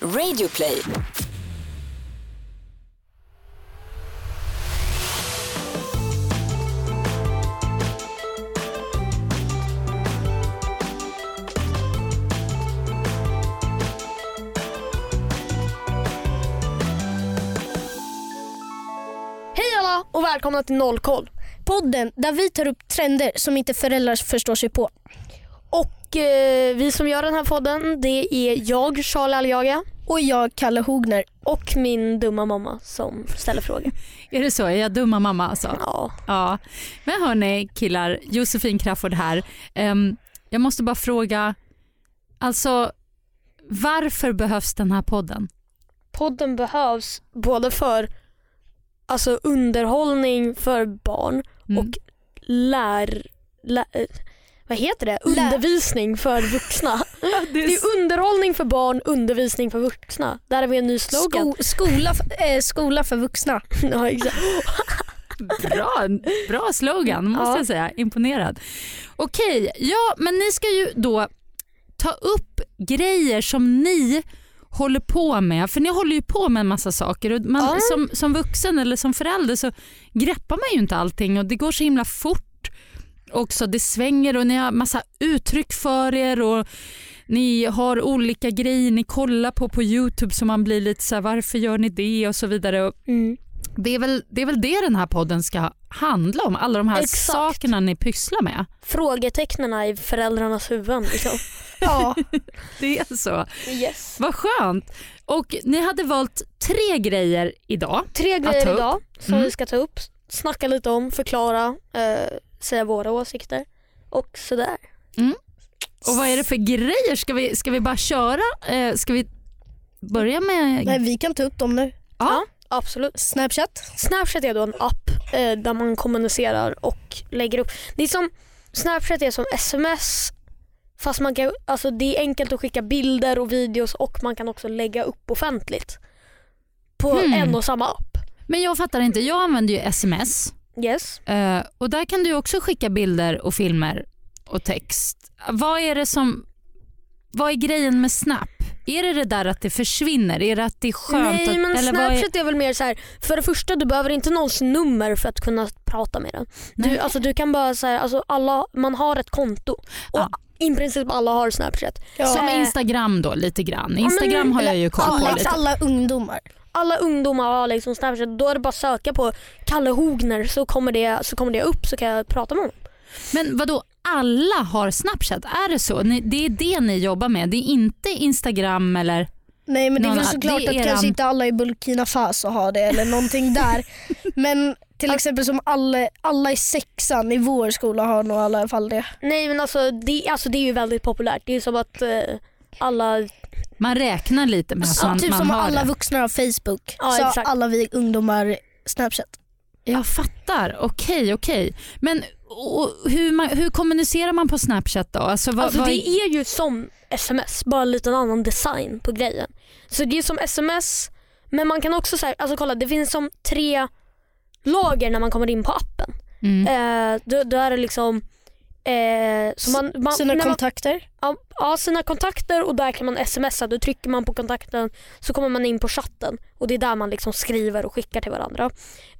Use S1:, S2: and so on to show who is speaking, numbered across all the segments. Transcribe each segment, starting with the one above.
S1: Radioplay.
S2: Hej alla och välkomna till Nollkoll.
S3: Podden där vi tar upp trender som inte föräldrar förstår sig på.
S2: Och eh, vi som gör den här podden det är jag, Charlie Aljaga
S3: Och jag, Kalle Hogner.
S2: och min dumma mamma som ställer frågor.
S4: Är det så? Är jag dumma mamma alltså?
S2: Ja.
S4: Ja. Men hörni killar, Josefin Crafoord här. Ehm, jag måste bara fråga, alltså varför behövs den här podden?
S2: Podden behövs både för alltså, underhållning för barn
S4: Mm.
S2: och lär... lä- eh, vad heter det?
S3: Lä-
S2: Undervisning för vuxna.
S4: det
S2: Det är underhållning för barn, undervisning för vuxna. Där har vi en ny slogan.
S3: Sko- skola, f- eh, skola för vuxna.
S2: ja, exakt.
S4: Bra, bra slogan måste
S2: Ja.
S4: jag säga, imponerad. Okej, ja men ni ska ju då ta upp grejer som ni håller på med, för ni håller ju på med en massa saker och man,
S2: Ja.
S4: som, som vuxen eller som förälder så greppar man ju inte allting och det går så himla fort också, det svänger och ni har massa uttryck för er och ni har olika grejer ni kollar på på Youtube så man blir lite så här, varför gör ni det och så vidare. Och
S2: Mm.
S4: det är, väl, det är väl det den här podden ska handla om, alla de här
S2: Exakt.
S4: sakerna ni pysslar med.
S2: Frågetecknen i föräldrarnas huvuden. Liksom.
S3: Ja,
S4: Det är så.
S2: Yes.
S4: Vad skönt. Och ni hade valt tre grejer idag.
S2: Tre
S4: Att ta
S2: grejer
S4: upp.
S2: idag som
S4: Mm.
S2: vi ska ta upp. Snacka lite om, förklara, eh, säga våra åsikter och sådär.
S4: Och vad är det för grejer? Ska vi, ska vi bara köra? Eh, ska vi börja med...
S3: Nej, vi kan ta upp dem nu.
S2: Absolut.
S3: Snapchat.
S2: Snapchat är då en app eh, där man kommunicerar och lägger upp. Det är som, Snapchat är som sms fast man kan, alltså det är enkelt att skicka bilder och videos och man kan också lägga upp offentligt på
S4: Hmm.
S2: en och samma app.
S4: Men jag fattar inte. Jag använder ju sms
S2: Yes.
S4: eh, och där kan du ju också skicka bilder och filmer och text. Vad är det som... Vad är grejen med Snap? Är det det där att det försvinner? Är det att det är skönt
S2: Nej
S4: att...
S2: men
S4: vad är-
S2: Snapchat är... väl mer så här. för det första du behöver inte någons nummer för att kunna prata med den. Du,
S4: Nej.
S2: alltså, du kan bara säga, alltså, alla, man har ett konto och
S4: Ja.
S2: i princip alla har Snapchat.
S4: Som
S2: Eh,
S4: Instagram då lite grann.
S2: men-
S4: Instagram har jag ju koll på
S3: Alla,
S4: lite.
S3: alla ungdomar.
S2: alla ungdomar har liksom Snapchat. Då är det bara att söka på Kalle Hogner så kommer det, så kommer det upp så kan jag prata med honom.
S4: Men vad då alla har Snapchat? Är det så? Ni, det är det ni jobbar med? Det är inte Instagram eller?
S3: Nej men det är
S4: Någon-
S3: väl såklart
S4: det är
S3: att kanske
S4: eran-
S3: inte alla i Burkina Faso har det eller någonting där. Men till exempel som alla, alla i sexan i vår skola har nog i alla fall det.
S2: Nej men alltså det, alltså det är ju väldigt populärt. Det är som att eh, alla...
S4: Man räknar lite med att
S3: Så,
S4: man,
S3: typ
S4: man
S3: som
S4: har
S3: alla
S4: det.
S3: vuxna har Facebook.
S2: Ja,
S3: så har
S2: exakt.
S3: alla vi ungdomar Snapchat.
S4: Jag fattar. Okej, okej. Men och, hur, man, hur kommunicerar man på Snapchat då? Alltså, vad,
S2: alltså
S4: vad,
S2: det är ju som sms, bara en liten annan design på grejen. Så det är som sms men man kan också säga, alltså kolla det finns som tre lager när man kommer in på appen.
S4: mm.
S2: Eh, då, då är det liksom eh, så man, man,
S3: Sina
S2: när man-
S3: kontakter.
S2: Ja, ja, sina kontakter och där kan man smsa. Då trycker man på kontakten så kommer man in på chatten och det är där man liksom skriver och skickar till varandra.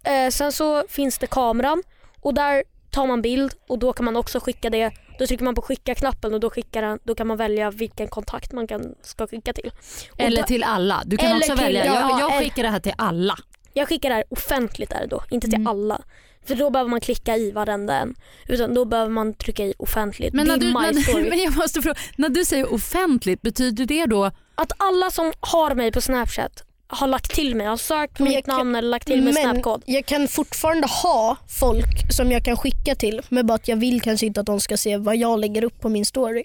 S2: Eh, sen så finns det kameran och där tar man bild och då kan man också skicka det. Då trycker man på skicka-knappen och då, skickar den, då kan man välja vilken kontakt man kan, ska skicka till. Och
S4: Eller
S2: då,
S4: till alla. Du kan
S2: eller
S4: också
S2: till-
S4: välja.
S2: ja, eh,
S4: Jag,
S2: eller-
S4: jag skickar det här till alla.
S2: jag skickar det här offentligt är det då, inte till
S4: Mm.
S2: alla. För då behöver man klicka i varenda en. Utan då behöver man trycka i offentligt.
S4: Men,
S2: det
S4: när
S2: är
S4: du,
S2: my
S4: när, du-
S2: story.
S4: men jag måste fråga, när du säger offentligt, betyder det då
S2: Att alla som har mig på Snapchat har lagt till mig, har sökt på
S3: Men jag
S2: mitt
S3: kan-
S2: namn eller lagt till min
S3: men
S2: Snapkod.
S3: jag kan fortfarande ha folk som jag kan skicka till men bara att jag vill kanske inte att de ska se vad jag lägger upp på min story.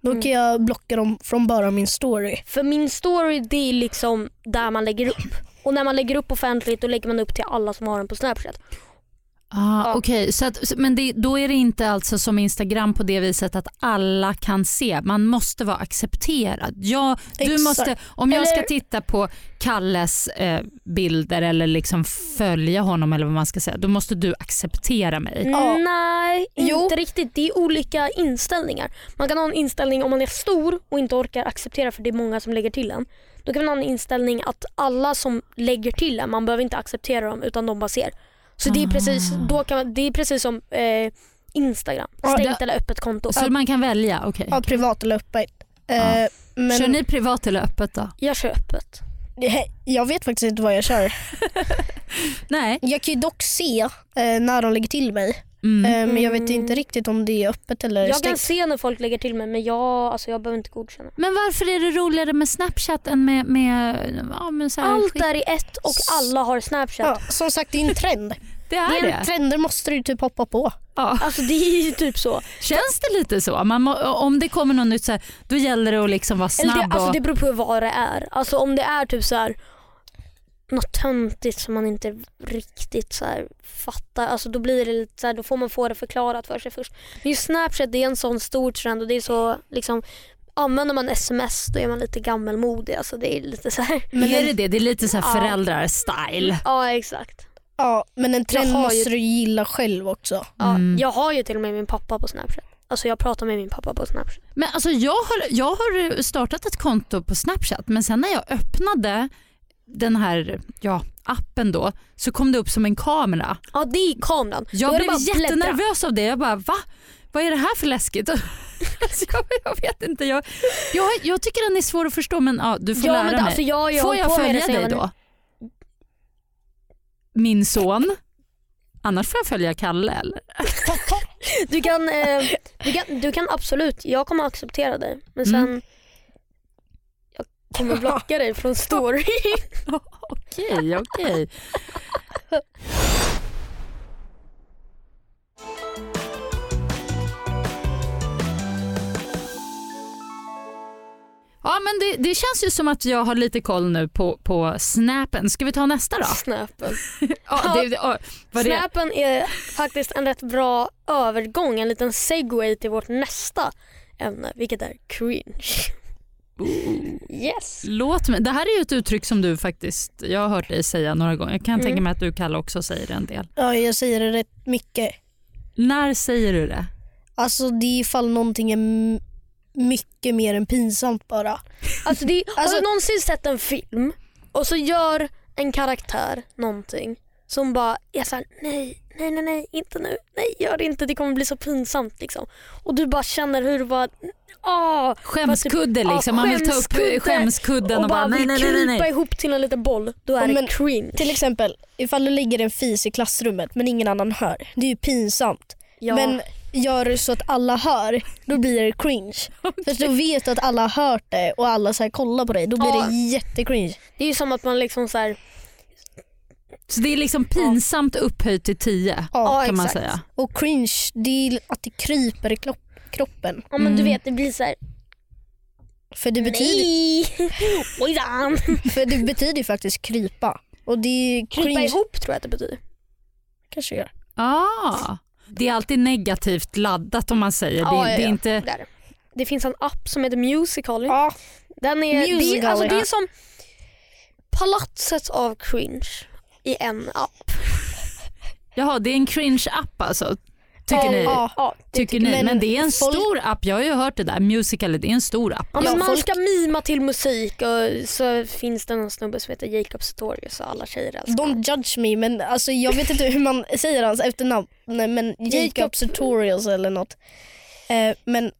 S3: Då kan jag blocka dem från bara min story.
S2: För min story det är liksom där man lägger upp. Och när man lägger upp offentligt då lägger man upp till alla som har den på Snapchat.
S4: Ah,
S2: Ja.
S4: Okej, så att- så- men det, då är det inte alltså som Instagram på det viset att alla kan se. Man måste vara accepterad. Jag, du
S3: Exakt.
S4: måste, om jag ska
S2: Eller-
S4: titta på Kalles eh, bilder eller liksom följa honom eller vad man ska säga, då måste du acceptera mig.
S2: Mm.
S3: Ja.
S2: Nej, inte
S3: Jo.
S2: riktigt. Det är olika inställningar. Man kan ha en inställning om man är stor och inte orkar acceptera för det är många som lägger till en. Då kan man ha en inställning att alla som lägger till en, man behöver inte acceptera dem utan de bara ser. Så
S3: Ah.
S2: det är precis, då kan man, det är precis som eh, Instagram,
S3: Ja, Alltså,
S2: stängt
S4: det-
S2: eller öppet konto.
S4: Så man kan välja, okej.
S3: Ja, privat eller öppet. Eh,
S4: Ja.
S3: men
S4: Kör ni privat eller öppet då?
S2: Jag kör öppet.
S3: Eh, Det- Jag vet faktiskt inte vad jag kör.
S4: Nej.
S3: Jag kan ju dock se eh, när de lägger till mig.
S4: Mm.
S3: Eh, men jag vet
S2: Mm.
S3: inte riktigt om det är öppet eller
S2: Jag kan
S3: stängt.
S2: se när folk lägger till mig men jag, alltså, jag behöver inte godkänna.
S4: Men varför är det roligare med Snapchat än med... med ja, men så här,
S2: Allt
S4: skit-
S2: är i ett och alla har Snapchat.
S3: Ja, som sagt, det är en trend.
S4: det är
S3: det är en
S4: det.
S3: Trender måste du typ hoppa på.
S4: Ja.
S2: Alltså det är ju typ så.
S4: Känns det lite så? Man må, om det kommer något nytt så här, då gäller det att liksom vara
S2: Eller
S4: snabb.
S2: det, alltså
S4: och,
S2: det beror på vad det är. Alltså om det är typ så här något töntigt som man inte riktigt så här fattar. Alltså då blir det lite så här, då får man få det förklarat för sig först. Men just Snapchat det är en sån stor trend och det är så liksom Använder man sms då är man lite gammelmodig. Alltså det är lite så här.
S4: men är det det? Det är lite så här
S2: Ja.
S4: föräldrar-style.
S2: Ja exakt.
S3: Ja, men en trend
S2: Jag har ju-
S3: måste du gilla själv också.
S2: Ja,
S4: Mm.
S2: Jag har ju till och med min pappa på Snapchat. Alltså jag pratar med min pappa på Snapchat.
S4: Men alltså jag har, jag har startat ett konto på Snapchat men sen när jag öppnade den här ja, appen då så kom det upp som en kamera.
S2: Ja det är kameran. Då
S4: Jag
S2: är det
S4: blev
S2: bara att bläddra.
S4: jättenervös av det. Jag bara va? Vad är det här för läskigt? alltså, jag, jag vet inte. Jag, jag, jag tycker den är svår att förstå men ja, du får
S2: Ja
S4: lära
S2: men
S4: mig.
S2: alltså jag har ju
S4: Får
S2: hållit
S4: jag
S2: på med det
S4: följa
S2: sen jag
S4: dig
S2: var-
S4: då? Min son. Annars får jag följa Kalle eller?
S2: Du kan, eh, du, kan, du kan absolut, jag kommer acceptera dig men
S4: Mm.
S2: sen jag kommer blocka dig från story.
S4: Okej, okej. Ja men det, det känns ju som att jag har lite koll nu på, på snappen. Ska vi ta nästa då?
S2: Snappen.
S4: Ja, det, ja, vad det-
S2: Snappen är faktiskt en rätt bra övergång, en liten segway till vårt nästa ämne vilket är cringe. Yes.
S4: Låt mig. Det här är ju ett uttryck som du faktiskt, jag har hört dig säga några gånger. Jag kan
S2: Mm.
S4: tänka mig att du Kalle också säger det en del.
S3: Ja, jag säger det rätt mycket.
S4: När säger du det?
S3: Alltså det är ifall någonting är m- mycket mer än pinsamt bara.
S2: Alltså det,
S3: Alltså-
S2: har du någonsin sett en film och så gör en karaktär någonting som bara är såhär nej, nej, nej, nej, inte nu, nej gör det inte, det kommer bli så pinsamt liksom. Och du bara känner hur du bara, ah,
S4: Skämskudde
S2: typ- Ja,
S4: liksom. Man vill ta upp
S2: skämskudde
S4: skämskudden och,
S2: och bara
S4: bara nej,
S2: vill
S4: nej,
S2: krypa
S4: nej, nej.
S2: ihop till en liten boll, då är
S3: Ja,
S2: det
S3: men-
S2: cringe.
S3: Till exempel ifall du lägger en fis i klassrummet men ingen annan hör. Det är ju pinsamt.
S2: Ja.
S3: Men gör du så att alla hör, då blir det cringe. För då vet du att alla har hört det och alla så här kollar på dig. Då blir
S2: Ja.
S3: det jättecringe.
S2: Det är ju som att man liksom så här,
S4: Så det är liksom pinsamt upphöjt till 10
S3: Ja,
S2: ja,
S4: kan man
S2: exakt.
S4: säga.
S3: Och cringe, det är att det kryper i klopp, kroppen.
S2: Ja men du
S4: Mm.
S2: vet det blir såhär,
S3: För det, betyder,
S2: nej, oj då.
S3: för det betyder ju faktiskt krypa. Och det är ju
S2: Krypa
S3: cringe.
S2: ihop tror jag att det betyder.
S3: Kanske gör.
S4: Ah, det är alltid negativt laddat om man säger.
S2: Ja,
S4: det,
S2: ja,
S4: det
S2: ja.
S4: är inte,
S2: Där. Det finns en app som heter Musical.ly.
S3: Ja,
S2: Den är, det, är-
S3: Musical.ly,
S2: alltså, det är
S3: ja.
S2: som palatset av cringe i en app.
S4: jaha, det är en cringe-app alltså. Tycker
S3: Ja,
S4: ni?
S3: ja. typ.
S2: Ja, typ. det
S4: Tycker
S2: tycker
S4: ni?
S3: men
S4: Men det är en
S3: folk-
S4: stor app. Jag har ju hört det där. Musical.ly, det är en stor app.
S2: Ja, men
S3: Ja,
S2: man
S3: folk-
S2: ska mima till musik och så finns det någon snubbe som heter Jacob Sartorius och alla tjejer älskar honom.
S3: Don't judge me men alltså, jag vet inte hur man säger hans efternamn. Nej, men Jacob
S2: Jacob.
S3: Sartorius eller något. Eh, men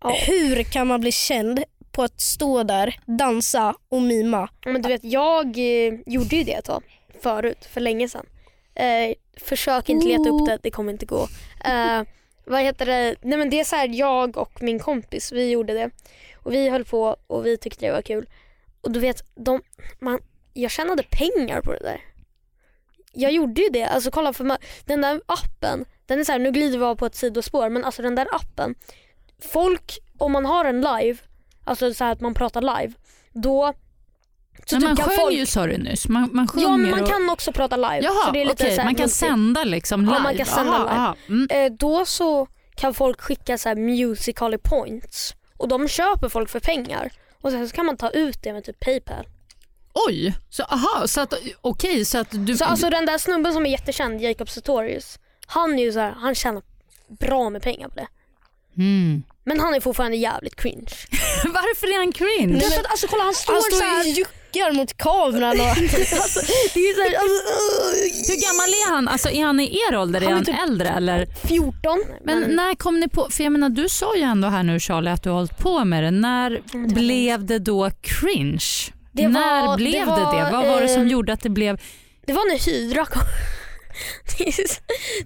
S2: Ja.
S3: hur kan man bli känd på att stå där, dansa och mima?
S2: Ja, Men du vet, jag eh, gjorde ju det ett tag förut, för länge sedan. Eh, försök inte leta upp det, det kommer inte gå. Eh, vad heter det? Nej men det är så här, jag och min kompis, vi gjorde det. Och vi höll på och vi tyckte det var kul. Och du vet, de, man, jag tjänade pengar på det där. Jag gjorde ju det. Alltså kolla, för man, den där appen, den är så här, nu glider vi av på ett sidospår, men alltså den där appen. Folk, om man har en live, alltså så här att man pratar live, då Så
S4: Men man
S2: typ kan
S4: sjöng
S2: folk...
S4: ju sa du nyss. Man, man sjunger
S2: Ja men man
S4: och...
S2: kan också prata live. Typ. så
S4: Jaha,
S2: det är lite
S4: okej.
S2: så här
S4: Man kan
S2: multi-
S4: sända liksom live.
S2: Ja, man kan sända
S4: Aha,
S2: live.
S4: aha. Mm.
S2: Eh, då så kan folk skicka så här musical.ly points och de köper folk för pengar. Och sen så kan man ta ut det med typ Paypal.
S4: Oj, så, aha, så att, okej så att du...
S2: Så alltså den där snubben som är jättekänd, Jacob Sartorius, han är ju så här, han tjänar bra med pengar på det.
S4: mm.
S2: Men han är fortfarande jävligt cringe.
S4: Varför är han cringe?
S2: Därför att, alltså kolla han står,
S3: Han
S2: så
S3: står
S2: här.
S3: och juckar mot kameran. Och...
S2: Det är så här alltså,
S4: Hur gammal är han? Alltså, är han i er ålder? Är
S2: Han är typ-
S4: han äldre? Eller?
S2: 14.
S4: Men när kom ni på, för jag menar du sa ju ändå här nu Charlie att du har hållit på med det. När
S2: Mm.
S4: blev det då cringe?
S2: Det var-
S4: när
S2: det
S4: blev det
S2: var,
S4: det? Vad var det som
S2: eh,
S4: gjorde att det blev,
S2: Det var när Hydra kom. Det är så-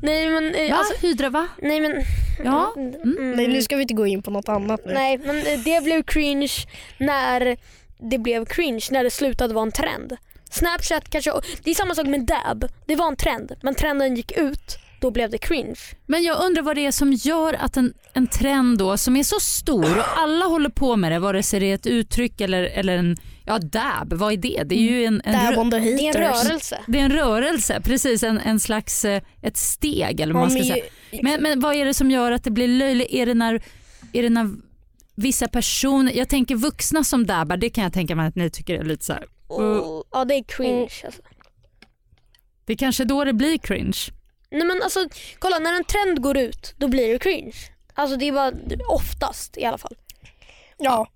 S2: nej men... eh,
S4: va?
S2: Alltså,
S4: Hydra va?
S2: nej men...
S4: Ja.
S2: Mm.
S3: Nej, nu ska vi inte gå in på något annat nu.
S2: Nej, men eh, det blev cringe när det blev cringe, när det slutade vara en trend. Snapchat kanske, det är samma sak med dab. Det var en trend, men trenden gick ut, då blev det cringe.
S4: Men jag undrar vad det är som gör att en, en trend då som är så stor och alla håller på med det vare sig det är ett uttryck eller, eller en, ja dab, vad är det? Det är ju en, en,
S3: Dab
S4: rö-
S3: on the
S2: Det är en
S3: haters.
S2: rörelse.
S4: det är en rörelse, precis en, en slags, eh, ett steg eller vad
S3: Ja,
S4: man ska
S3: men
S4: säga.
S3: ju-
S4: Men, men vad är det som gör att det blir löjligt? Är det när, är det när vissa personer, jag tänker vuxna som dabbar, det kan jag tänka mig att ni tycker är lite så här.
S2: Och, ja, det är cringe. Alltså.
S4: Det är kanske då det blir cringe.
S2: Nej, men alltså, kolla, när en trend går ut, då blir det cringe. Alltså det är bara oftast i alla fall.
S3: Ja,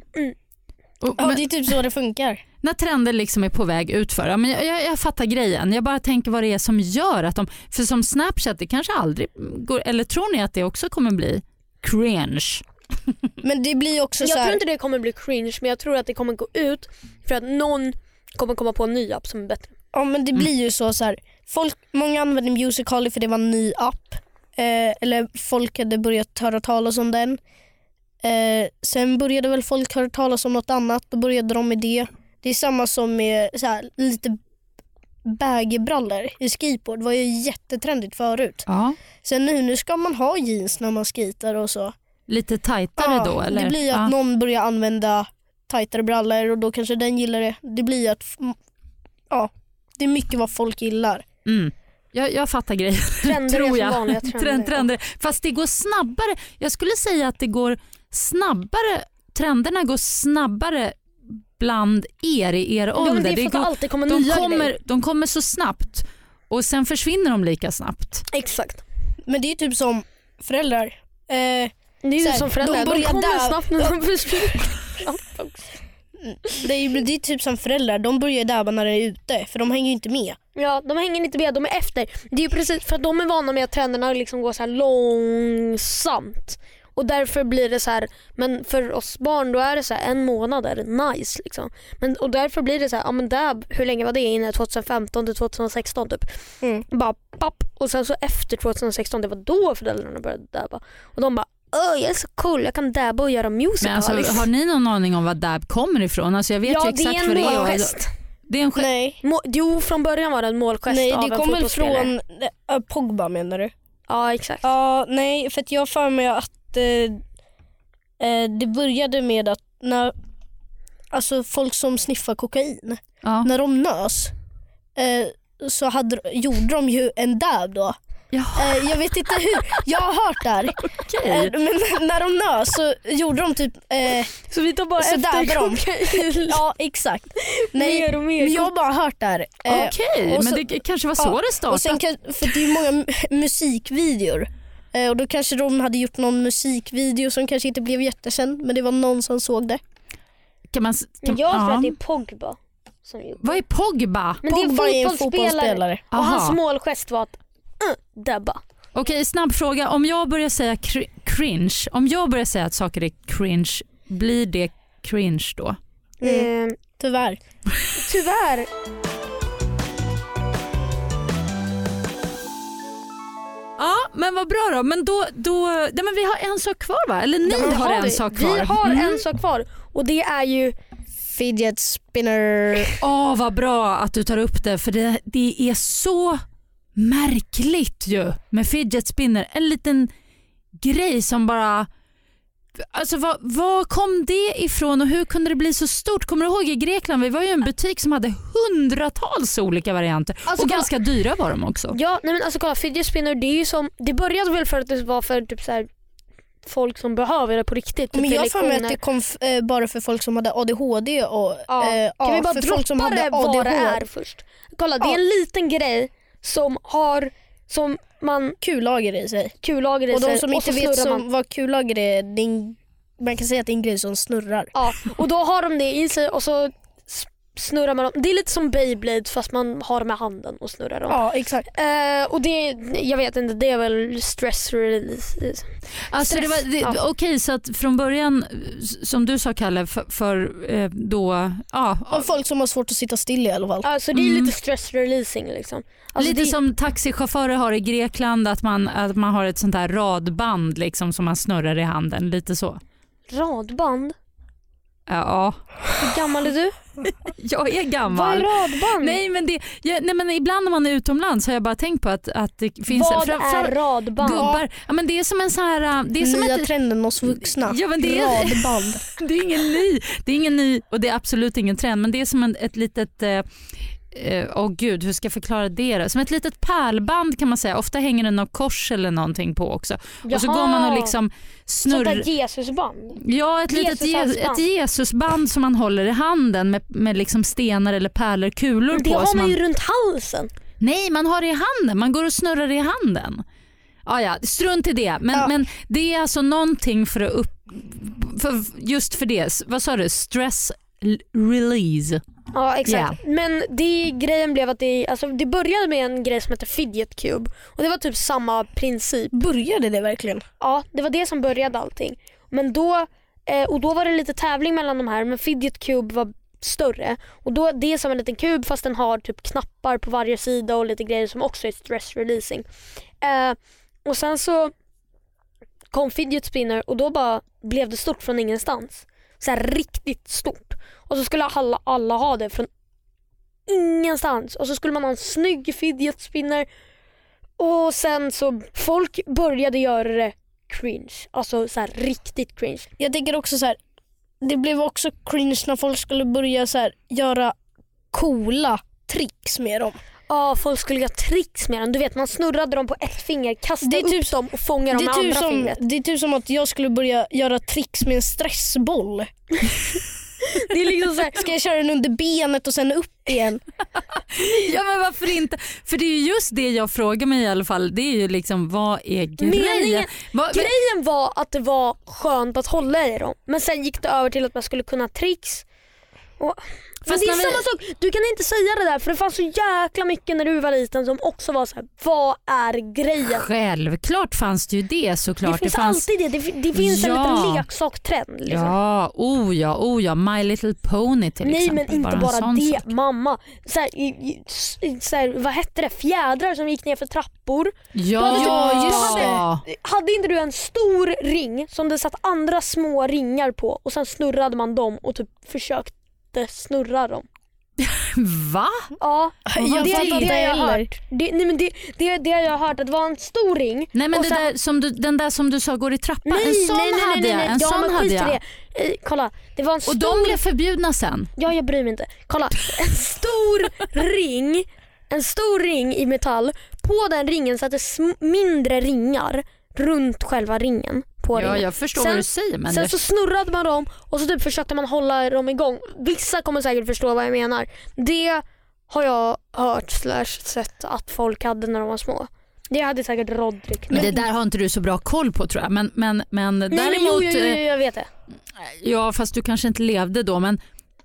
S4: Och,
S3: ja
S4: men,
S3: det är typ så det funkar.
S4: när trender liksom är på väg utför, ja, men jag, jag, jag fattar grejen. Jag bara tänker vad det är som gör att de, för som Snapchat, det kanske aldrig går, eller tror ni att det också kommer bli cringe?
S3: Men det blir också
S2: Jag
S3: så här,
S2: tror inte det kommer bli cringe, men jag tror att det kommer gå ut för att någon kommer komma på en ny app som är bättre.
S3: Ja men det blir ju så, så här, folk, Många använde Musical.ly för det var en ny app. Eh, eller folk hade börjat höra talas om den. Eh, sen började väl folk höra talas om något annat. Då började de med det. Det är samma som med så här, lite baggybrallor i skateboard. Det var ju jättetrendigt förut.
S4: Ja.
S3: Sen nu, nu ska man ha jeans när man skitar och så.
S4: Lite tajtare
S3: Ja,
S4: då eller?
S3: Det blir ju att
S4: ja.
S3: någon börjar använda tajtare brallor och då kanske den gillar det. Det blir ju att ja, det är mycket vad folk gillar.
S4: mm. jag, jag fattar grejen.
S2: Trender
S4: Tror
S2: är
S4: jag.
S2: som vanliga trender.
S4: Trend, trender. Fast det går snabbare. Jag skulle säga att det går snabbare. Trenderna går snabbare bland er i er
S2: Ja,
S4: ålder.
S2: men det är för att det
S4: går,
S2: alltid kommer
S4: de,
S2: nya grejer.
S4: kommer, de kommer så snabbt och sen försvinner de lika snabbt.
S2: Exakt.
S3: Men det är ju typ som föräldrar. Eh,
S2: Det är ju
S3: Så här,
S2: som föräldrar,
S3: de
S2: de,
S3: börjar
S2: kommer
S3: där.
S2: snabbt när de försvinner.
S3: det, är, ju- det är typ som föräldrar, de börjar ju dabba när de är ute för de hänger ju inte med.
S2: Ja, de hänger inte med, de är efter. Det är ju precis för att de är vana med att trenderna liksom går så här långsamt. Och därför blir det så här, men för oss barn då är det så här en månad är det nice. Liksom. Men, och därför blir det så här, ja men där, hur länge var det inne? 2015 till 2016 typ.
S3: Mm.
S2: Bara papp. Och sen så efter 2016, det var då föräldrarna började dabba. Och de bara, åh jag är så cool, jag kan dabba och göra musical.
S4: Men alltså, har ni någon aning om var dab kommer ifrån? Alltså, jag vet ju
S2: ja det
S4: exakt
S2: är en
S4: vad det är.
S2: målgest.
S4: Det är en gest.
S3: Nej,
S2: Må- Jo, från början var det en målgest
S3: nej
S2: av
S3: det
S2: en
S3: kommer väl
S2: fotbollsspelare.
S3: från eh, Pogba menar du?
S2: Ja, exakt.
S3: Ja, nej för att jag har för mig att eh, eh, det började med att när alltså folk som sniffar kokain
S4: Ja.
S3: när de nös eh, så hade, gjorde de ju en dab då.
S4: Jaha,
S3: Eh, jag vet inte hur, jag har hört det här.
S4: okej.
S3: Eh, men när de nös så gjorde de typ, eh,
S2: Så vi tar bara
S3: Så där
S2: efter
S3: var de.
S2: kokain.
S3: ja exakt. Nej,
S2: mer och mer.
S3: men jag har bara hört det här. Eh,
S4: Okej,
S3: och
S4: men
S3: så-
S4: det kanske var så
S3: ja,
S4: det
S3: och
S4: startade.
S3: sen, kan- för det är ju många mu- musikvideor. Eh, och då kanske de hade gjort någon musikvideo som kanske inte blev jättekänd men det var någon som såg det.
S4: Kan man, s- kan,
S2: jag tror
S4: ja.
S2: att det är Pogba som gjorde
S4: Vad är Pogba?
S2: Men det är
S3: Pogba är en
S2: fotbollsspelare.
S3: fotbollsspelare.
S2: Och hans
S4: Aha.
S2: målgest var att uh, debba.
S4: Okej, snabb fråga. Om jag börjar säga cr- cringe, om jag börjar säga att saker är cringe, blir det cringe då?
S3: Mm.
S2: Eh,
S3: Tyvärr.
S2: tyvärr.
S4: Ja, men vad bra då. Men då, då nej, men vi har en sak kvar va? Eller ni
S2: Ja, men
S4: har en
S2: vi.
S4: sak kvar.
S2: Vi har
S4: Mm.
S2: en sak kvar och det är ju
S3: Fidget spinner.
S4: Åh, vad bra att du tar upp det för det, det är så märkligt ju med fidget spinner. En liten grej som bara Alltså vad, vad kom det ifrån och hur kunde det bli så stort? Kommer du ihåg i Grekland, vi var ju i en butik som hade hundratals olika varianter
S3: Alltså,
S4: och
S3: kolla-
S4: ganska dyra var de också.
S2: Ja, nej men alltså kolla fidget spinner det är ju som, det började väl för att det var för typ så här, folk som behöver det på riktigt. typ
S3: Men jag har
S2: till
S3: för mig att
S2: lektioner.
S3: det kom f- eh, bara för folk som hade ADHD och
S2: Ja.
S3: eh,
S2: Kan vi bara
S3: för
S2: droppa
S3: folk som
S2: det
S3: hade
S2: vad det
S3: ADHD.
S2: är först? Kolla det är
S3: Ja.
S2: en liten grej som har som man
S3: Kulager i sig.
S2: kulager i
S3: Och de
S2: sig
S3: som
S2: och
S3: inte
S2: så
S3: vet
S2: snurrar
S3: som,
S2: man.
S3: vad kulager är, det är en, man kan säga att det är en grej som snurrar.
S2: Ja, och då har de det i sig och så s- snurrar man dem. Det är lite som Beyblade fast man har med handen och snurrar dem.
S3: Ja, exakt.
S2: Eh, och det, jag vet inte, det är väl stress release.
S4: Alltså det var, det,
S2: Ja.
S4: Okej, så att från början, s- som du sa Kalle, för, för eh, då... Ja,
S3: Och folk som har svårt att sitta still i alla fall.
S2: Alltså det är
S4: Mm.
S2: lite stress releasing liksom. Alltså,
S4: Lite
S2: det,
S4: som taxichaufförer har i Grekland, att man, att man har ett sånt här radband liksom, som man snurrar i handen. Lite så.
S2: Radband?
S4: Ja,
S2: Hur gammal är du?
S4: jag
S2: Vad är
S4: är
S2: Mm.
S4: gammal.
S2: radband?
S4: Nej men, det, jag, nej men ibland när man är utomlands har jag bara tänkt på att, att det finns...
S2: Vad
S4: fram- fram-
S2: är radband?
S4: Gubbar. Ja, men det är som en sån här... äh, Det är som
S3: Nya
S4: ett,
S3: trenden hos vuxna.
S4: ja, men det, är,
S3: Radband.
S4: det är ingen ny. Det är ingen ny och det är absolut ingen trend men det är som en, ett litet... eh, eh, Åh gud, hur ska jag förklara det då? Som ett litet pärlband kan man säga. Ofta hänger det något kors eller någonting på också. Och så
S2: Jaha.
S4: går man och liksom
S2: Sånt
S4: snurrar.
S2: där Jesusband?
S4: Ja, ett litet
S2: Jesushandsband.
S4: Je- ett Jesusband som man håller i handen med, med liksom stenar eller pärlor, kulor
S2: Men Det
S4: på.
S2: har
S4: som
S2: man
S4: man...
S2: ju runt halsen.
S4: Nej, man har det i handen. Man går och snurrar i handen. Ah, ja, strunt i det. Men,
S3: Ja.
S4: men det är alltså någonting för att upp... För, just för det. S- Vad sa du? Stress l- release.
S2: Ja exakt.
S4: Ja.
S2: Men det grejen blev att det, alltså, det började med en grej som hette Fidget Cube. Och det var typ samma princip.
S3: Började det verkligen?
S2: Ja, det var det som började allting. Men då, eh, och då var det lite tävling mellan de här men Fidget Cube var större. Och då, Det är som en liten kub fast den har typ knappar på varje sida och lite grejer som också är stress releasing. Eh, och sen så kom Fidget Spinner och då bara blev det stort från ingenstans. Så här riktigt stort. Och så skulle alla, alla ha det från ingenstans. Och så skulle man ha en snygg Fidget Spinner. Och sen så folk började göra det cringe. Alltså så här riktigt cringe.
S3: Jag tänker också så här. det blev också cringe när folk skulle börja så här, göra coola tricks med dem.
S2: Ja, folk skulle göra tricks med den. Du vet, man snurrade dem på ett finger, kastade
S3: Det är
S2: upp
S3: typ-
S2: dem och fångade dem
S3: Det
S2: med
S3: är, typ
S2: andra
S3: som,
S2: fingret.
S3: det är typ som att jag skulle börja göra tricks med en stressboll.
S2: Det är liksom så här,
S3: Ska jag köra den under benet och sen upp igen?
S4: Ja men varför inte? För det är ju just det jag frågar mig i alla fall. Det är ju liksom vad är grejen?
S2: Meningen-
S4: Vad-
S2: grejen var att det var skönt att hålla i dem. Men sen gick det över till att man skulle kunna tricks. Och, men
S4: Fast
S2: det är
S4: när vi-
S2: samma sak, du kan inte säga det där för det fanns så jäkla mycket när du var liten som också var så här: vad är grejen?
S4: Självklart fanns det ju det såklart.
S2: det finns
S4: fanns
S2: alltid det, det, fi- det finns en
S4: Ja.
S2: liten leksaktrend. Liksom.
S4: Ja, oh ja, oh ja. My Little Pony till
S2: Nej
S4: exempel.
S2: men inte
S4: en
S2: bara,
S4: sån
S2: det,
S4: sak.
S2: mamma. Så här, i, i, s- i, så här, vad hette det? Fjädrar som gick ner för trappor.
S4: Ja,
S2: Då hade-
S4: just
S2: då
S4: det.
S2: Hade inte du en stor ring som det satt andra små ringar på och sen snurrade man dem och typ försökte snurra dem?
S4: Va?
S2: Ja, det,
S4: Jag
S2: typ
S4: fattar
S2: det,
S4: inte
S2: har jag
S3: heller.
S2: hört. Det, nej, men det, det, det har jag hört att det var en stor ring.
S4: Nej men
S2: och
S4: det
S2: sen-
S4: där som du, den där som du sa går i trappan,
S2: nej,
S4: en sån
S2: nej, nej, nej,
S4: hade
S2: nej,
S4: jag.
S2: nej,
S4: En
S2: ja,
S4: sån
S2: men
S4: hade
S2: skit i
S4: jag.
S2: Det. Eh, kolla, det var en stor
S4: Och de blev förbjudna sen.
S2: Ja, jag bryr mig inte. Kolla, en stor ring en stor ring i metall. På den ringen satt det sm- mindre ringar runt själva ringen. På
S4: Ja,
S2: ringen.
S4: jag förstår
S2: Sen-
S4: vad du säger men
S2: Sen
S4: det,
S2: så snurrade man dem och så typ försökte man hålla dem igång. Vissa kommer säkert förstå vad jag menar. Det har jag hört slash sett att folk hade när de var små. Det hade säkert Rodrik.
S4: men det där har inte du så bra koll på tror jag. Men, men, men
S2: Nej, men
S4: däremot,
S2: jo, jo, jo,
S4: eh,
S2: jag vet det.
S4: ja fast du kanske inte levde då men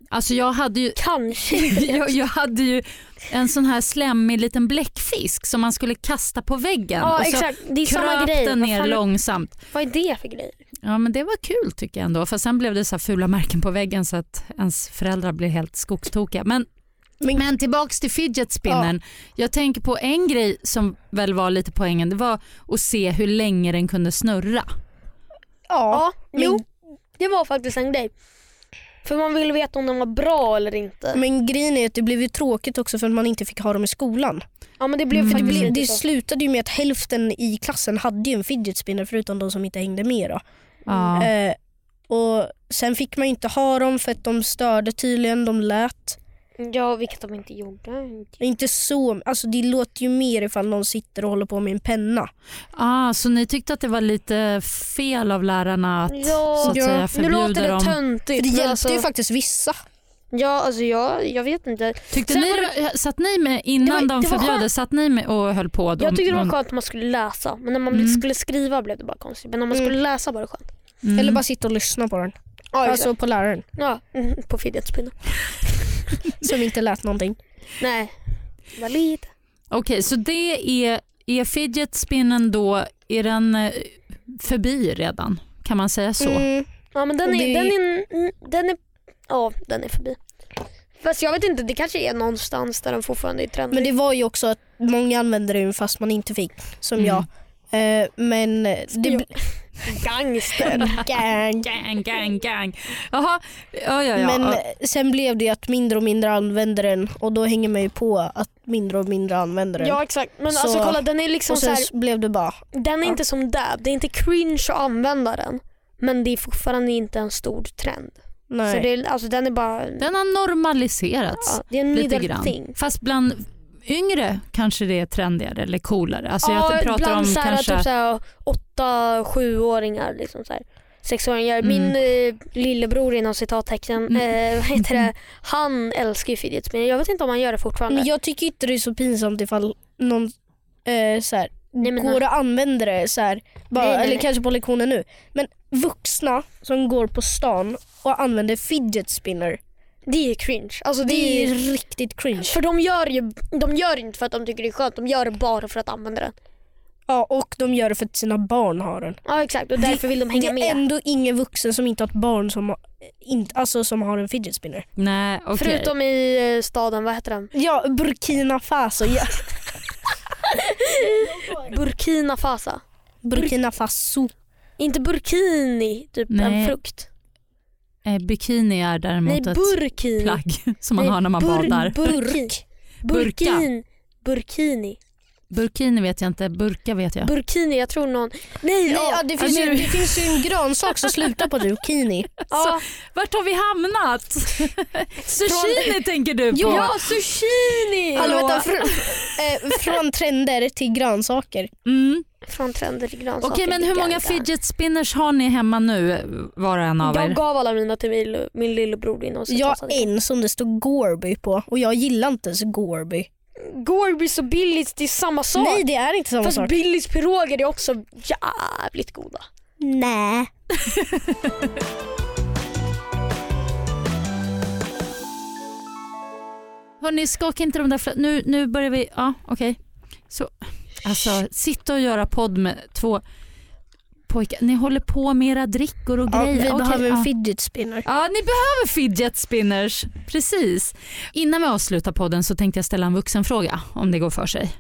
S4: alltså jag hade ju
S2: Kanske.
S4: jag, jag hade ju en sån här slemmig liten bläckfisk som man skulle kasta på väggen
S2: Ja,
S4: och så
S2: exakt. Det är samma
S4: kröp
S2: grej.
S4: den
S2: Vad
S4: ner
S2: fan-
S4: långsamt.
S2: Vad är det för grej?
S4: Ja men det var kul tycker jag ändå. För sen blev det så här fula märken på väggen så att ens föräldrar blev helt skogstokiga. Men, men,
S3: Men-
S4: tillbaks till fidget spinnern. Jag tänker på en grej som väl var lite poängen. Det var att se hur länge den kunde snurra.
S3: Ja.
S2: Ja, jo. Det var faktiskt en grej. För man ville veta om den var bra eller inte.
S3: Men grejen är att det blev ju tråkigt också för att man inte fick ha dem i skolan.
S2: Ja men det blev
S4: Mm.
S3: Det,
S2: faktiskt
S3: blev,
S2: inte
S3: det
S2: så.
S3: slutade ju med att hälften i klassen hade ju en fidget spinner förutom de som inte hängde med. Då.
S4: Ja.
S3: Eh, Och Sen fick man ju inte ha dem för att de störde tydligen, de lät.
S2: Ja, vilket de inte gjorde.
S3: Inte så, alltså det låter ju mer ifall någon sitter och håller på med en penna.
S4: Ah, så ni tyckte att det var lite fel av lärarna att
S2: Ja,
S4: så att
S3: ja.
S4: säga,
S2: Nu
S4: förbjuda
S2: låter det
S4: dem?
S3: För
S2: töntigt.
S3: det
S2: men
S3: hjälpte
S2: alltså,
S3: ju faktiskt vissa.
S2: Ja, alltså jag, jag vet inte.
S4: Tyckte
S2: Sen
S4: ni,
S2: var
S4: satt ni med, innan
S2: Det var-
S4: de
S2: det var
S4: förbjöd det, satt ni med och höll på? Då,
S2: Jag tyckte det var
S4: Om-
S2: skönt att man skulle läsa men när man
S4: Mm.
S2: skulle skriva blev det bara konstigt. Men när man
S3: Mm.
S2: skulle läsa var det skönt.
S4: Mm.
S3: Eller bara sitta och lyssna på den.
S2: Ja,
S3: Alltså på läraren
S2: ja mm, på fidgetspinnen.
S3: som inte lät någonting.
S2: Nej, valid.
S4: Okej, så det är, är fidget spinnen då, är den eh, förbi redan? Kan man säga så?
S3: Mm.
S2: Ja men den
S3: Och
S2: är,
S3: det-
S2: den är, mm, den är, ja den är förbi. Fast jag vet inte, det kanske är någonstans där den fortfarande är trendig.
S3: Men det var ju också att många använde den fast man inte fick, som
S4: Mm.
S3: jag. Eh, men det
S2: jag-
S3: blev...
S2: Gangster.
S4: Gang, gang, gang. Jaha, ja, ja, ja.
S3: Men eh,
S4: ja.
S3: sen blev det ju att mindre och mindre använder den och då hänger man ju på att mindre och mindre använder den.
S2: ja exakt. Men
S3: Så-
S2: alltså kolla den är liksom
S3: och
S2: så
S3: sen
S2: här,
S3: så blev det bara...
S2: den är
S3: ja.
S2: inte som dab. Det är inte cringe att använda den. Men det är fortfarande inte en stor trend.
S3: Nej.
S2: Så det är, alltså den är bara,
S4: Den har normaliserats
S2: ja, det är en
S4: lite
S2: middle thing.
S4: grann. Fast bland yngre kanske det är trendigare eller coolare. Alltså jag pratar
S2: bland
S4: om
S2: så här,
S4: kanske...
S2: typ så här, åtta, sjuåringar. Liksom så här, sexåringar.
S4: Mm.
S2: Min eh, lillebror inom citattecken, eh, vad heter
S4: Mm.
S2: det? han älskar ju fidget spinner. Jag vet inte om han gör det fortfarande.
S3: Men jag tycker inte det är så pinsamt ifall någon eh, så här,
S2: Nej, men-
S3: går och använder det så här, bara,
S2: Nej, nej,
S3: eller
S2: nej.
S3: kanske på lektionen nu. Men vuxna som går på stan och använder fidget spinner.
S2: Det är cringe. Alltså,
S3: Så
S2: det
S3: det är
S2: är...
S3: riktigt cringe.
S2: För de gör ju de gör inte för att de tycker det är skönt, de gör det bara för att använda den.
S3: Ja, och de gör det för att sina barn har den.
S2: Ja exakt och därför vill de
S3: det
S2: hänga
S3: är
S2: med.
S3: ändå ingen vuxen som inte har ett barn som har, inte, alltså, som har en fidget spinner.
S4: Nej, okej.
S2: Förutom i eh, staden, vad heter den?
S3: Ja, Burkina Faso. Ja.
S2: Burkina Faso.
S3: Burkina Faso.
S2: Inte burkini, typ en
S4: Nej,
S2: frukt.
S4: Eh, Bikini är däremot
S2: Nej,
S4: ett
S2: burkini.
S4: plagg som man
S2: Nej,
S4: har när man
S2: bur-
S4: badar.
S2: Burk.
S4: Burka.
S2: Burkin. Burkini.
S4: Burkini vet jag inte, burka vet jag.
S2: Burkini, jag tror någon... Nej,
S3: Nej,
S2: ja,
S3: ja, det, finns ju, det finns ju en grönsak som slutar på zucchini.
S2: ja,
S4: Vart har vi hamnat? Sushini tänker du på?
S2: ja, zucchini!
S3: Hallå, vänta, fr- eh, från trender till grönsaker.
S4: Mm.
S2: Från trender till grönsaker.
S4: Okej, men hur
S2: tycker
S4: många
S2: jag.
S4: fidget spinners har ni hemma nu, var och en av
S2: Jag
S4: er?
S2: gav alla mina till min, min lillebror innan. så
S3: Jag
S2: jag
S3: har
S2: passade.
S3: en som det står Gorby på och jag gillar inte ens Gorby.
S2: Gorbis och Billys, det är samma sak.
S3: Nej, det är inte samma
S2: Fast
S3: sak.
S2: Billys piroger är också jävligt goda.
S3: Nej.
S4: Hörni, skaka inte de där flö- nu, nu börjar vi, ja okej. Så, alltså sitta och göra podd med två pojkar, ni håller på med era drickor och
S3: Ja, vi
S4: grejer. Okej,
S3: behöver en
S4: ja.
S3: fidget spinner.
S4: Ja, ni behöver fidget spinners. Precis. Innan vi avslutar podden så tänkte jag ställa en vuxenfråga om det går för sig.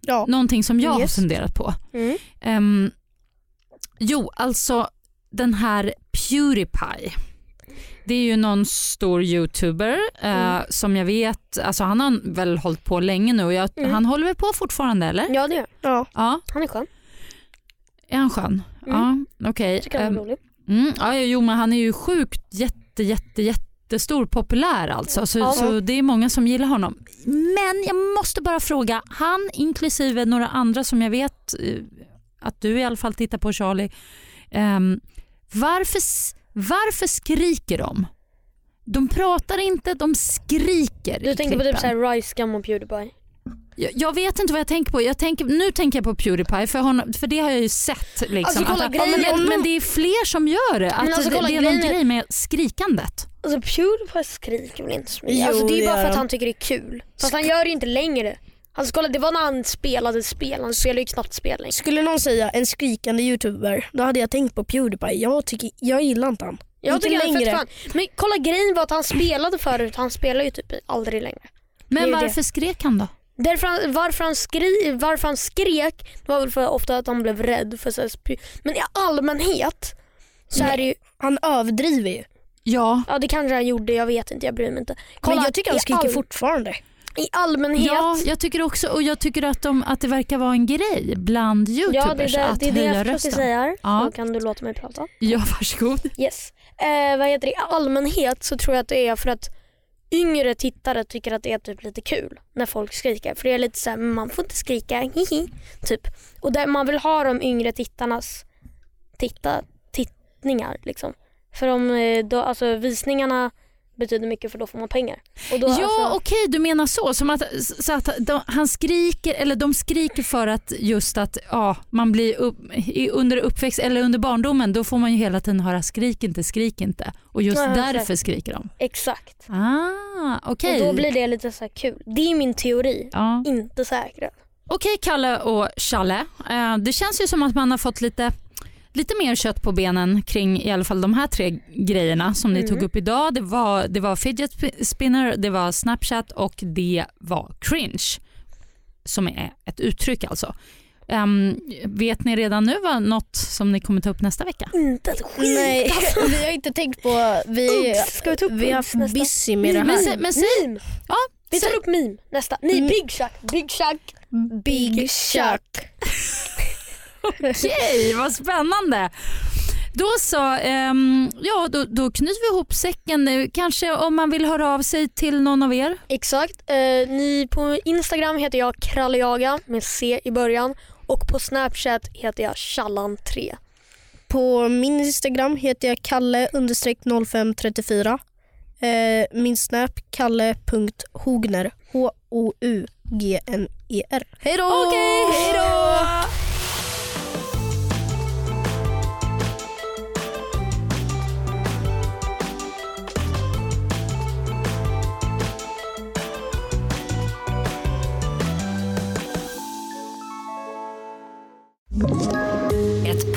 S3: Ja.
S4: Någonting som jag har
S3: Yes.
S4: funderat på.
S2: Mm.
S4: Ehm, jo, alltså den här Pewdiepie. Det är ju någon stor youtuber eh,
S2: Mm.
S4: som jag vet, alltså han har väl hållit på länge nu och jag,
S2: Mm.
S4: han håller väl på fortfarande eller?
S2: Ja det gör
S3: Ja.
S4: Ja,
S2: Han är skön.
S4: är han skön? Ja, okej.
S2: Mm. Tycker han
S4: Ehm,
S2: är rolig.
S4: Mm, ja, jo, men han är ju sjukt jätte, jätte, jättestor populär alltså. Så,
S2: Ja.
S4: så det är många som gillar honom. Men jag måste bara fråga, han inklusive några andra som jag vet eh, att du i alla fall tittar på Charlie. ehm, varför, s- varför skriker de? De pratar inte, de skriker
S2: Du
S4: i
S2: tänker på
S4: klippen.
S2: typ såhär Rice Gum och Pewdiepie.
S4: jag, jag vet inte vad jag tänker på. Jag tänker, nu tänker jag på Pewdiepie för, honom, för det har jag ju sett. Liksom,
S2: Alltså, kolla,
S4: att,
S2: grejen-
S4: men,
S2: om-
S4: men det är fler som gör det. Att
S2: alltså,
S4: det,
S2: kolla,
S4: det är någon
S2: grejen är-
S4: grej med skrikandet.
S2: Alltså Pewdiepie skriker väl inte så mycket?
S3: Jo,
S2: alltså, det är ju
S3: det
S2: bara
S3: gör
S2: för att
S3: han.
S2: han tycker det är kul. Fast han gör det ju inte längre. Alltså kolla det var när han spelade spel, han spelar ju knappt spel längre.
S3: Skulle någon säga en skrikande youtuber, då hade jag tänkt på Pewdiepie. Jag, tycker, jag gillar inte han.
S2: Jag
S3: inte
S2: tycker han är fett
S3: längre.
S2: skön. Men kolla grejen var att han spelade förut, han spelar ju typ aldrig längre. Det är
S4: Men
S2: ju det.
S4: varför skrek han då?
S2: Därför han, varför, han skri, varför han skrek det var väl för ofta att han blev rädd för så här, spy- Men i allmänhet så är det ju,
S3: Han överdriver ju.
S4: Ja,
S2: ja det kanske han gjorde, jag vet inte, jag bryr mig inte. Kolla,
S3: men jag tycker
S2: i
S3: han skriker
S2: all-
S3: fortfarande.
S2: i allmänhet.
S4: Ja, jag tycker också och jag tycker att, de, att det verkar vara en grej bland youtubers
S2: Ja, det är det,
S4: att
S2: det, är det jag
S4: höja
S2: försöker
S4: rösten.
S2: säga här.
S4: Ja.
S2: Så kan du låta mig prata.
S4: Ja, varsågod.
S2: Yes. Eh, vad heter det? I allmänhet så tror jag att det är för att yngre tittare tycker att det är typ lite kul när folk skriker. För det är lite så här, man får inte skrika, hihi. Typ. Och där man vill ha de yngre tittarnas titta, tittningar. Liksom. För de, eh, då, alltså, visningarna betyder mycket för då får man pengar. Och då,
S4: Ja,
S2: alltså,
S4: okej, du menar så. Som att, så att de, han skriker, eller de skriker för att just att ja, man blir upp, i, under uppväxt eller under barndomen, då får man ju hela tiden höra skrik inte, skrik inte. Och just
S2: Ja, jag ser.
S4: därför skriker de.
S2: Exakt.
S4: Ah, okej.
S2: Och då blir det lite så här kul. Det är min teori.
S4: Ja.
S2: Inte säkra.
S4: Okej Kalle och Challe, eh, det känns ju som att man har fått lite, lite mer kött på benen kring i alla fall de här tre grejerna som ni
S2: Mm.
S4: tog upp idag. Det var, det var fidget sp- spinner, det var Snapchat och det var cringe. Som är ett uttryck alltså. Ehm, vet ni redan nu vad något som ni kommer ta upp nästa vecka?
S2: Inte ett skit. alltså.
S3: Nej, vi har inte tänkt på... Vi,
S2: Oops, ska vi ta upp
S3: vi har
S2: oops
S3: haft
S2: nästa?
S3: busy med det
S4: Men,
S3: här.
S4: sä- men, sä-
S2: Meme.
S4: ja,
S2: Vi tar
S4: sä-
S2: upp meme nästa. Nej,
S3: Mm.
S2: Big Shack. Big Shack.
S3: Big Chuck.
S4: Okej, vad spännande. Då så, ehm, ja, då, då knyter vi ihop säcken nu. Kanske om man vill höra av sig till någon av er?
S2: Exakt. Eh, ni på Instagram heter jag krallejaga med C i början och på Snapchat heter jag challan3.
S3: På min Instagram heter jag kalle-0534. Eh, Min snap kalle.hogner. H-O-U-G-N-E-R. E Hej då!
S4: Okej, hej då!
S1: Ett